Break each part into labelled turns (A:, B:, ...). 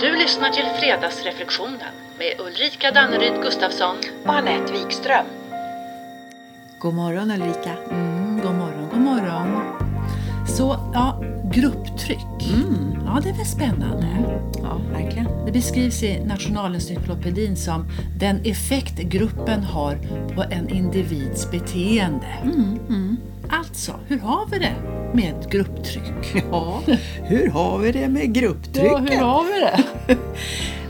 A: Du lyssnar till Fredagsreflektionen med Ulrika Danneryd Gustafsson.
B: och Anette Wikström.
C: God morgon Ulrika.
D: Mm, god morgon, god morgon. Så, ja, grupptryck.
C: Mm,
D: Ja, det är väl spännande.
C: ja, verkligen.
D: Det beskrivs i Nationalencyklopedin som den effekt gruppen har på en individs beteende.
C: Mm, mm.
D: Alltså, hur har vi det med grupptryck?
C: Ja, hur har vi det med
D: Ja,
C: grupptrycket?
D: hur har vi det?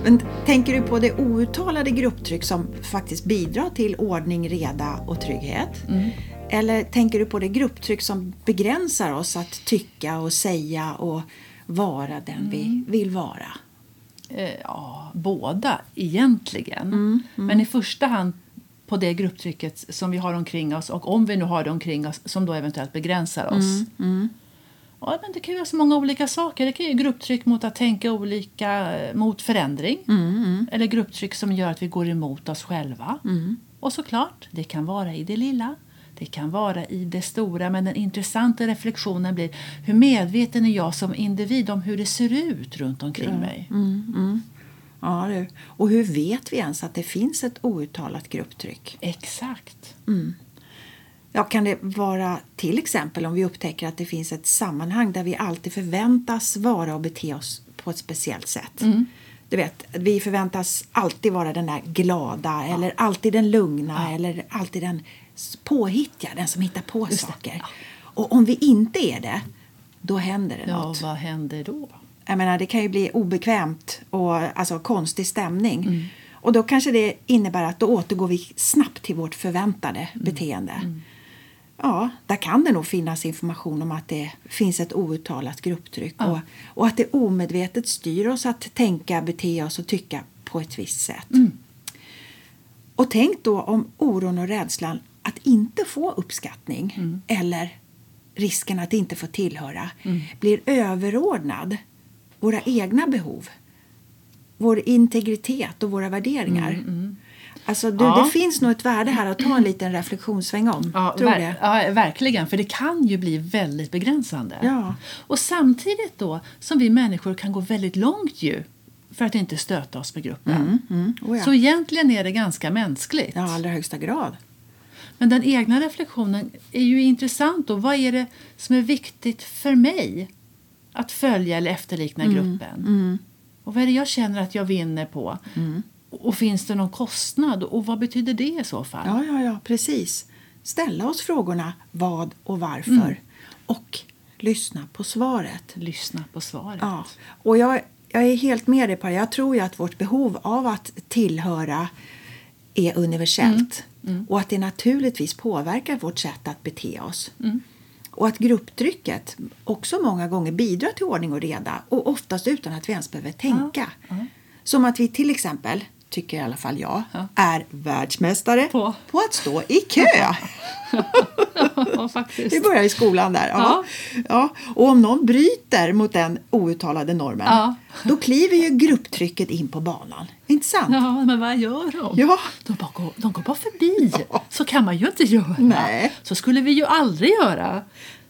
C: Men tänker du på det outtalade grupptryck som faktiskt bidrar till ordning, reda och trygghet?
D: Mm.
C: Eller tänker du på det grupptryck som begränsar oss att tycka och säga och vara den
D: Mm.
C: vi vill vara?
D: Eh, Ja, båda egentligen. Men i första hand på det grupptrycket som vi har omkring oss och om vi nu har det omkring oss som då eventuellt begränsar oss. Ja, men det kan ju vara så många olika saker. Det kan ju grupptryck mot att tänka olika eh, mot förändring. Eller grupptryck som gör att vi går emot oss själva. Och såklart, det kan vara i det lilla. Det kan vara i det stora, men den intressanta reflektionen blir hur medveten är jag som individ om hur det ser ut runt omkring mig?
C: Ja, du. Och hur vet vi ens att det finns ett outtalat grupptryck?
D: Exakt.
C: Ja, kan det vara till exempel om vi upptäcker att det finns ett sammanhang där vi alltid förväntas vara och bete oss på ett speciellt sätt? Du vet, vi förväntas alltid vara den där glada eller alltid den lugna eller alltid den s- påhittiga, den som hittar på saker. Och om vi inte är det, då händer det
D: Ja,
C: något.
D: vad händer då?
C: Jag menar, det kan ju bli obekvämt och alltså, konstig stämning. Och då kanske det innebär att då återgår vi snabbt till vårt förväntade beteende. Ja, där kan det nog finnas information om att det finns ett outtalat grupptryck och, och att det omedvetet styr oss att tänka, bete oss och tycka på ett visst sätt.
D: Mm.
C: Och tänk då om oron och rädslan att inte få uppskattning
D: Mm.
C: eller risken att inte få tillhöra blir överordnad våra egna behov, vår integritet och våra värderingar. Alltså, du,
D: Mm, Ja.
C: Det finns nog ett värde här att ta en liten reflektionssväng om.
D: Ja,
C: tror
D: ver-
C: det.
D: ja, verkligen. För det kan ju bli väldigt begränsande.
C: Ja.
D: Och samtidigt då som vi människor kan gå väldigt långt ju för att inte stöta oss med gruppen.
C: Oh, ja.
D: Så egentligen är det ganska mänskligt.
C: ja, allra högsta grad.
D: Men den egna reflektionen är ju intressant då. Vad är det som är viktigt för mig att följa eller efterlikna
C: Mm,
D: gruppen? Och vad är det jag känner att jag vinner på?
C: Mm.
D: Och och finns det någon kostnad? Och vad betyder det i så fall?
C: Ja, ja, ja, precis. Ställa oss frågorna vad och varför och lyssna på svaret.
D: Lyssna på svaret.
C: Ja, och jag, jag är helt med dig på det. Jag tror ju att vårt behov av att tillhöra är universellt och att det naturligtvis påverkar vårt sätt att bete oss. Och att grupptrycket också många gånger bidrar till ordning och reda och oftast utan att vi ens behöver tänka. Som att vi till exempel, tycker i alla fall jag, är världsmästare
D: På?
C: på att stå i kö.
D: Ja, faktiskt.
C: Vi börjar i skolan där. Ja. Ja. Och om någon bryter mot den outtalade normen
D: Ja.
C: då kliver ju grupptrycket in på banan. Inte sant?
D: Ja, men vad gör de?
C: Ja.
D: De, bara går, de går bara förbi. Så kan man ju inte göra.
C: Nej.
D: Så skulle vi ju aldrig göra.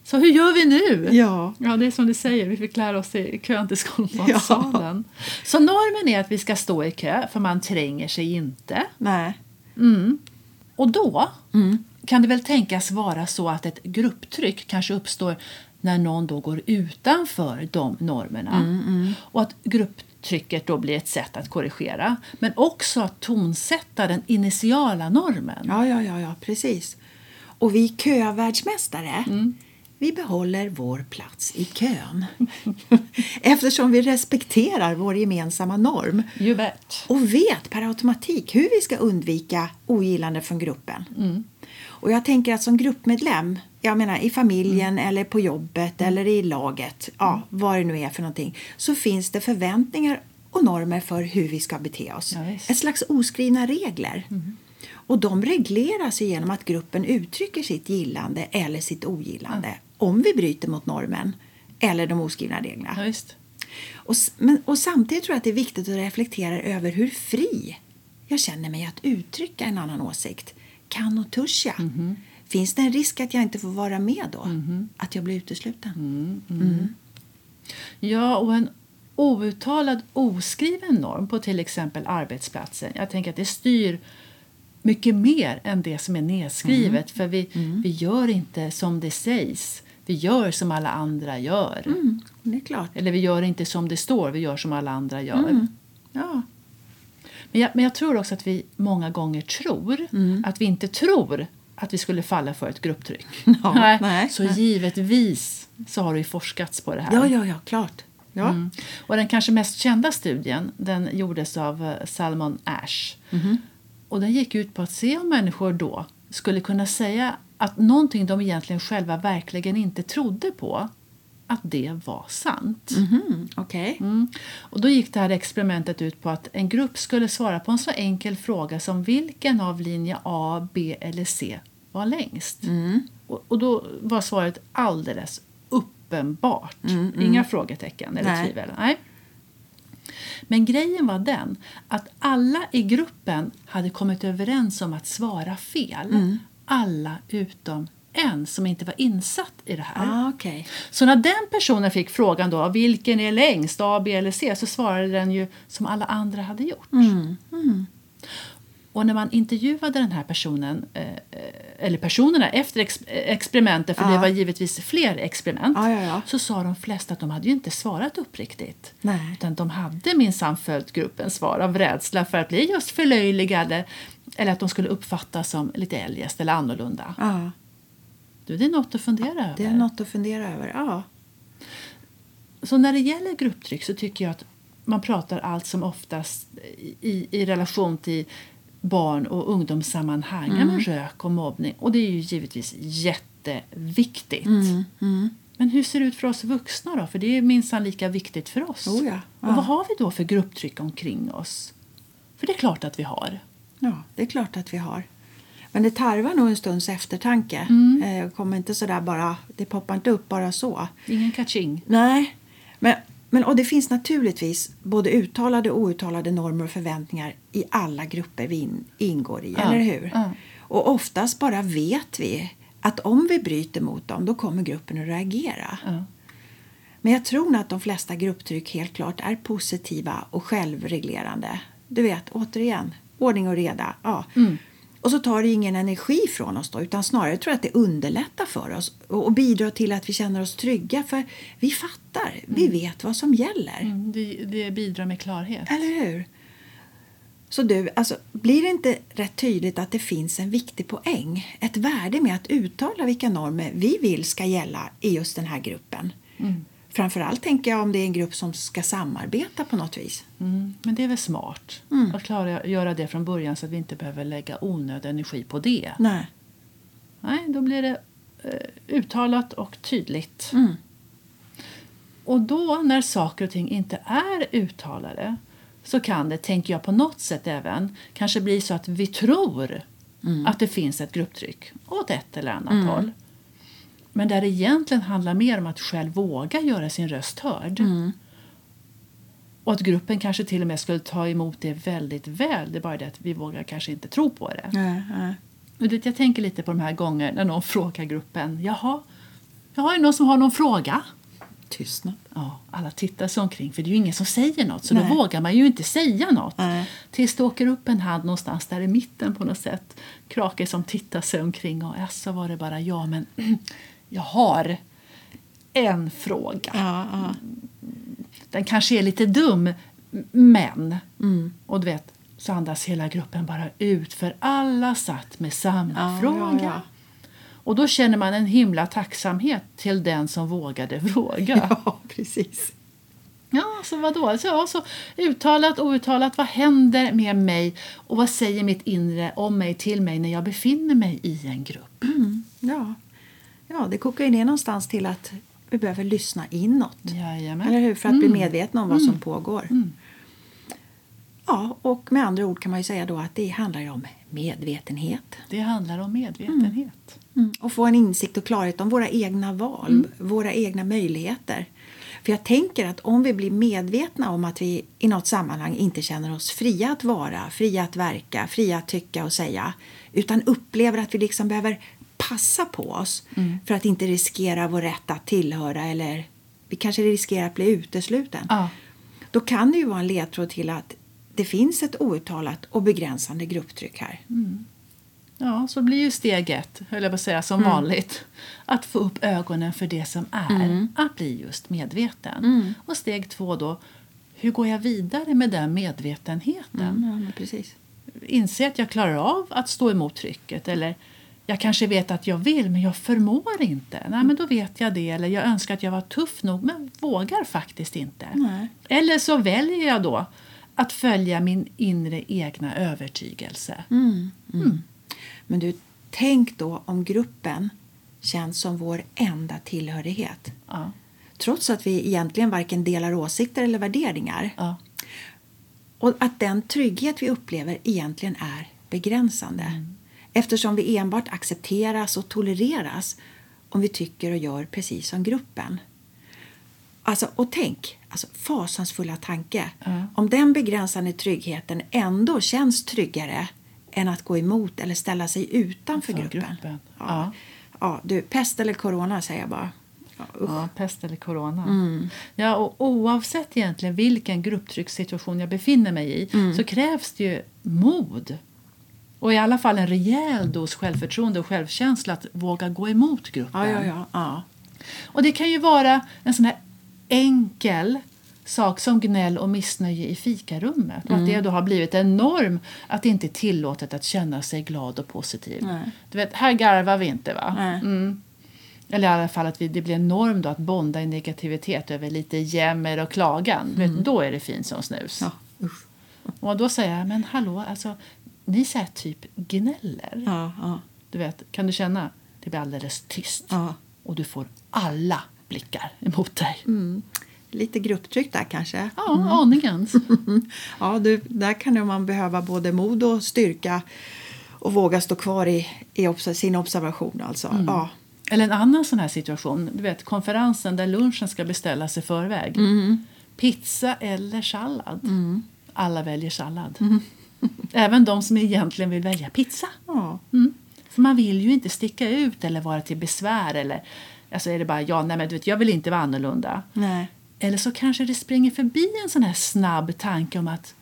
D: Så hur gör vi nu?
C: Ja.
D: ja det är som du säger, vi fick lära oss i kön till skolmatsalen. Så normen är att vi ska stå i kö, för man tränger sig inte.
C: Nej.
D: Och då kan det väl tänkas vara så att ett grupptryck kanske uppstår när någon då går utanför de normerna. Och att grupptrycket då blir ett sätt att korrigera. Men också att tonsätta den initiala normen.
C: Ja, ja, ja, ja, precis. Och vi kövärldsmästare,
D: Mm.
C: vi behåller vår plats i kön. Eftersom vi respekterar vår gemensamma norm
D: You bet.
C: och vet per automatik hur vi ska undvika ogillande från gruppen.
D: Mm.
C: Och jag tänker att som gruppmedlem, jag menar i familjen
D: Mm.
C: eller på jobbet eller i laget, ja, vad det nu är för någonting, så finns det förväntningar och normer för hur vi ska bete oss.
D: Ja, visst. Mm.
C: Ett slags oskrivna regler. Och de regleras ju genom att gruppen uttrycker sitt gillande eller sitt ogillande om vi bryter mot normen eller de oskrivna reglerna.
D: Ja, visst.
C: Och, s- men, och samtidigt tror jag att det är viktigt att reflektera över hur fri jag känner mig att uttrycka en annan åsikt. Kan och törs jag?
D: Mhm.
C: Finns det en risk att jag inte får vara
D: Mm.
C: med då? Att jag blir utesluten?
D: Ja, och en outtalad, oskriven norm på till exempel arbetsplatsen. Jag tänker att det styr mycket mer än det som är
C: Mm.
D: nedskrivet. För vi, vi gör inte som det sägs. Vi gör som alla andra gör.
C: Mm, det är klart.
D: Eller vi gör inte som det står, vi gör som alla andra gör.
C: Mm.
D: Ja. Men, jag, men jag tror också att vi många gånger tror
C: Mm.
D: att vi inte tror att vi skulle falla för ett grupptryck.
C: Ja, nej,
D: så
C: nej.
D: givetvis så har det ju forskats på det här.
C: Ja, ja, ja, klart. Ja.
D: Mm. Och den kanske mest kända studien den gjordes av eh, Salmon Ash. Och den gick ut på att se om människor då skulle kunna säga att någonting de egentligen själva verkligen inte trodde på, att det var sant.
C: Mhm, Okej.
D: Mm. Och då gick det här experimentet ut på att en grupp skulle svara på en så enkel fråga som vilken av linje A, B eller C var längst.
C: Mm.
D: Och, och då var svaret alldeles uppenbart. Inga frågetecken eller
C: Mm, Nej.
D: tvivel. Nej. Men grejen var den att alla i gruppen hade kommit överens om att svara fel.
C: Mm.
D: Alla utom en som inte var insatt i det här.
C: Ah, okej.
D: Så när den personen fick frågan då, vilken är längst, A, B eller C, så svarade den ju som alla andra hade gjort.
C: Mm.
D: Mm. Och när man intervjuade den här personen, eh, eh, eller personerna efter ex- eh, experimentet, för det var givetvis fler experiment,
C: Ja, ja, ja.
D: så sa de flesta att de hade ju inte svarat uppriktigt.
C: Nej.
D: Utan de hade minsann följt gruppens svar av rädsla för att bli just förlöjligade eller att de skulle uppfattas som lite eljest eller annorlunda.
C: Ja,
D: Du, det är något att fundera över.
C: det är något att fundera över. Ja.
D: Så när det gäller grupptryck så tycker jag att man pratar allt som oftast i- i, i relation till barn och ungdomssammanhang, mm. men rök och mobbning. Och det är ju givetvis jätteviktigt.
C: Mm,
D: Men hur ser det ut för oss vuxna då? För det är minsann lika viktigt för oss.
C: Oh ja, ja.
D: Och vad har vi då för grupptryck omkring oss? För det är klart att vi har.
C: ja, det är klart att vi har. Men det tarvar nog en stunds eftertanke.
D: Mm.
C: Eh, Jag kommer inte sådär bara, det poppar inte upp bara så.
D: Ingen catching.
C: Nej, men, men och det finns naturligtvis både uttalade och outtalade normer och förväntningar i alla grupper vi in, ingår i,
D: Ja,
C: eller hur?
D: ja.
C: Och oftast bara vet vi att om vi bryter mot dem då kommer gruppen att reagera.
D: Ja.
C: Men jag tror nog att de flesta grupptryck helt klart är positiva och självreglerande. Du vet, återigen, ordning och reda. Ja. Och så tar det ingen energi från oss då, utan snarare tror jag att det underlättar för oss och och bidrar till att vi känner oss trygga för vi fattar, vi vet vad som gäller.
D: Mm, Det, det bidrar med klarhet.
C: Eller hur? Så du, alltså, blir det inte rätt tydligt att det finns en viktig poäng, ett värde med att uttala vilka normer vi vill ska gälla i just den här gruppen? Framförallt tänker jag om det är en grupp som ska samarbeta på något vis.
D: Mm, men det är väl smart
C: Mm.
D: att klara, göra det från början så att vi inte behöver lägga onödig energi på det.
C: Nej.
D: Nej, då blir det eh, uttalat och tydligt. Och då när saker och ting inte är uttalade så kan det, tänker jag på något sätt även, kanske bli så att vi tror att det finns ett grupptryck åt ett eller annat håll. Men där det egentligen handlar mer om att själv våga göra sin röst hörd. Och att gruppen kanske till och med skulle ta emot det väldigt väl. Det är bara det att vi vågar kanske inte tro på det.
C: Nej, nej.
D: Och det, jag tänker lite på de här gånger när någon frågar gruppen Jaha, jaha är det någon som har någon fråga?
C: Tystnad.
D: Ja, alla tittar sig omkring för det är ju ingen som säger något så
C: Nej.
D: då vågar man ju inte säga något.
C: Nej.
D: Tills det åker upp en hand någonstans där i mitten på något sätt. Krake som tittar sig omkring och så var det bara jag men jag har en fråga.
C: Ja, ja.
D: Den kanske är lite dum, m- men...
C: Mm.
D: Och du vet, så andas hela gruppen bara ut för alla satt med samma
C: Ja,
D: fråga.
C: ja, ja.
D: Och då känner man en himla tacksamhet till den som vågade fråga. Ja,
C: ja, precis.
D: så vadå? Så, ja, så uttalat, outtalat, vad händer med mig och vad säger mitt inre om mig till mig när jag befinner mig i en grupp?
C: Ja. ja, det kokar ju ner någonstans till att vi behöver lyssna inåt.
D: Jajamän.
C: Eller hur? För att bli medvetna om vad som pågår. Ja, och med andra ord kan man ju säga då att det handlar ju om medvetenhet.
D: Det handlar om medvetenhet.
C: Mm. Och få en insikt och klarhet om våra egna val, våra egna möjligheter. För jag tänker att om vi blir medvetna om att vi i något sammanhang inte känner oss fria att vara, fria att verka, fria att tycka och säga, utan upplever att vi liksom behöver passa på oss för att inte riskera vår rätt att tillhöra eller vi kanske riskerar att bli utesluten.
D: Ja.
C: Då kan det ju vara en ledtråd till att det finns ett outtalat och begränsande grupptryck här.
D: Ja, så blir ju steg ett, höll jag på att säga, som vanligt. Att få upp ögonen för det som är, att bli just medveten. Och steg två då, hur går jag vidare med den medvetenheten?
C: precis.
D: Inse att jag klarar av att stå emot trycket eller jag kanske vet att jag vill men jag förmår inte. Nej, men då vet jag det. Eller jag önskar att jag var tuff nog men vågar faktiskt inte.
C: Nej.
D: Eller så väljer jag då att följa min inre egna övertygelse.
C: Mm. Men du, tänk då om gruppen känns som vår enda tillhörighet.
D: Ja.
C: Trots att vi egentligen varken delar åsikter eller värderingar.
D: Ja.
C: Och att den trygghet vi upplever egentligen är begränsande.
D: Mm.
C: Eftersom vi enbart accepteras och tolereras om vi tycker och gör precis som gruppen. Alltså, och tänk, alltså, fasansfulla tanke. Om den begränsande tryggheten ändå känns tryggare än att gå emot eller ställa sig utanför
D: För
C: gruppen.
D: gruppen,
C: Ja.
D: ja.
C: Ja, du, pest eller corona säger jag bara. Ja, usch.
D: Ja, pest eller corona.
C: Mm.
D: Ja, och oavsett egentligen vilken grupptryckssituation jag befinner mig i
C: Mm.
D: så krävs det ju mod och i alla fall en rejäl dos självförtroende och självkänsla att våga gå emot gruppen.
C: ja, ja, ja, ja.
D: Och det kan ju vara en sån här enkel sak som gnäll och missnöje i fikarummet. Och att
C: Mm.
D: det då har blivit en norm att det inte är tillåtet att känna sig glad och positiv.
C: Nej.
D: Du vet, här garvar vi inte va?
C: Nej.
D: Mm. Eller i alla fall att vi, det blir en norm då att bonda i negativitet över lite jämmer och klagan. Du Vet, då är det fint som snus.
C: Mm. ja. usch.
D: Och då säger jag, men hallå, alltså, ni säger typ gnäller.
C: ja, ja.
D: Du vet, kan du känna? Det blir alldeles tyst.
C: Ja.
D: Och du får alla blickar emot dig.
C: Lite grupptryck där kanske.
D: Ja, aningen.
C: Ja, du, där kan ju man behöva både mod och styrka och våga stå kvar i, i obs- sin observation. Alltså. Ja.
D: Eller en annan sån här situation. Du vet, konferensen där lunchen ska beställas i förväg.
C: Mm.
D: Pizza eller sallad? Alla väljer sallad.
C: Mm.
D: Även de som egentligen vill välja pizza.
C: Ja.
D: Mm. För man vill ju inte sticka ut eller vara till besvär. Eller, alltså är det bara, ja, nej, men du vet, jag vill inte vara annorlunda.
C: Nej.
D: Eller så kanske det springer förbi en sån här snabb tanke om att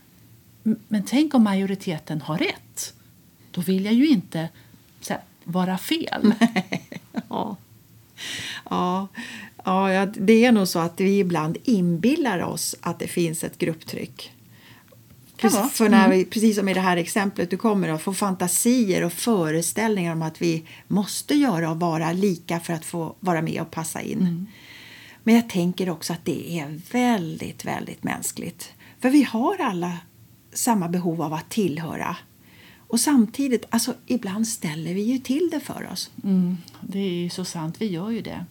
D: "M- men tänk om majoriteten har rätt? Då vill jag ju inte så här, vara fel.
C: Ja. Ja. Ja, ja, det är nog så att vi ibland inbillar oss att det finns ett grupptryck.
D: Kan vara.
C: Precis, för när vi, precis som i det här exemplet du kommer att få fantasier och föreställningar om att vi måste göra och vara lika för att få vara med och passa in. Men jag tänker också att det är väldigt, väldigt mänskligt. För vi har alla samma behov av att tillhöra. Och samtidigt, alltså ibland ställer vi ju till det för oss.
D: Mm, det är ju så sant, vi gör ju det.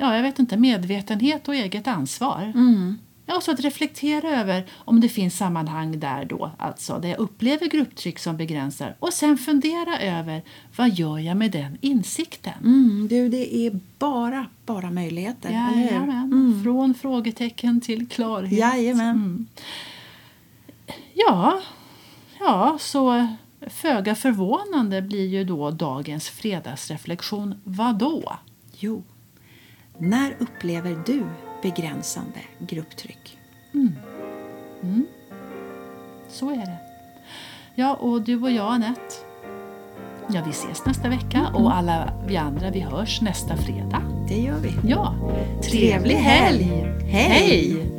D: Ja, jag vet inte, medvetenhet och eget ansvar.
C: Mm.
D: Ja, och så att reflektera över om det finns sammanhang där då, alltså där jag upplever grupptryck som begränsar och sen fundera över vad gör jag med den insikten?
C: Mm, du, det är bara, bara möjligheter. eller hur? Mm.
D: Jajamän. Från frågetecken till klarhet.
C: Jajamän.
D: Ja, ja, så föga förvånande blir ju då dagens fredagsreflektion vad då?
C: Jo. När upplever du begränsande grupptryck?
D: Så är det. Ja, och du och jag Anette, ja vi ses nästa vecka och alla vi andra vi hörs nästa fredag.
C: Det gör vi.
D: Ja,
C: Trevlig helg!
D: Hej!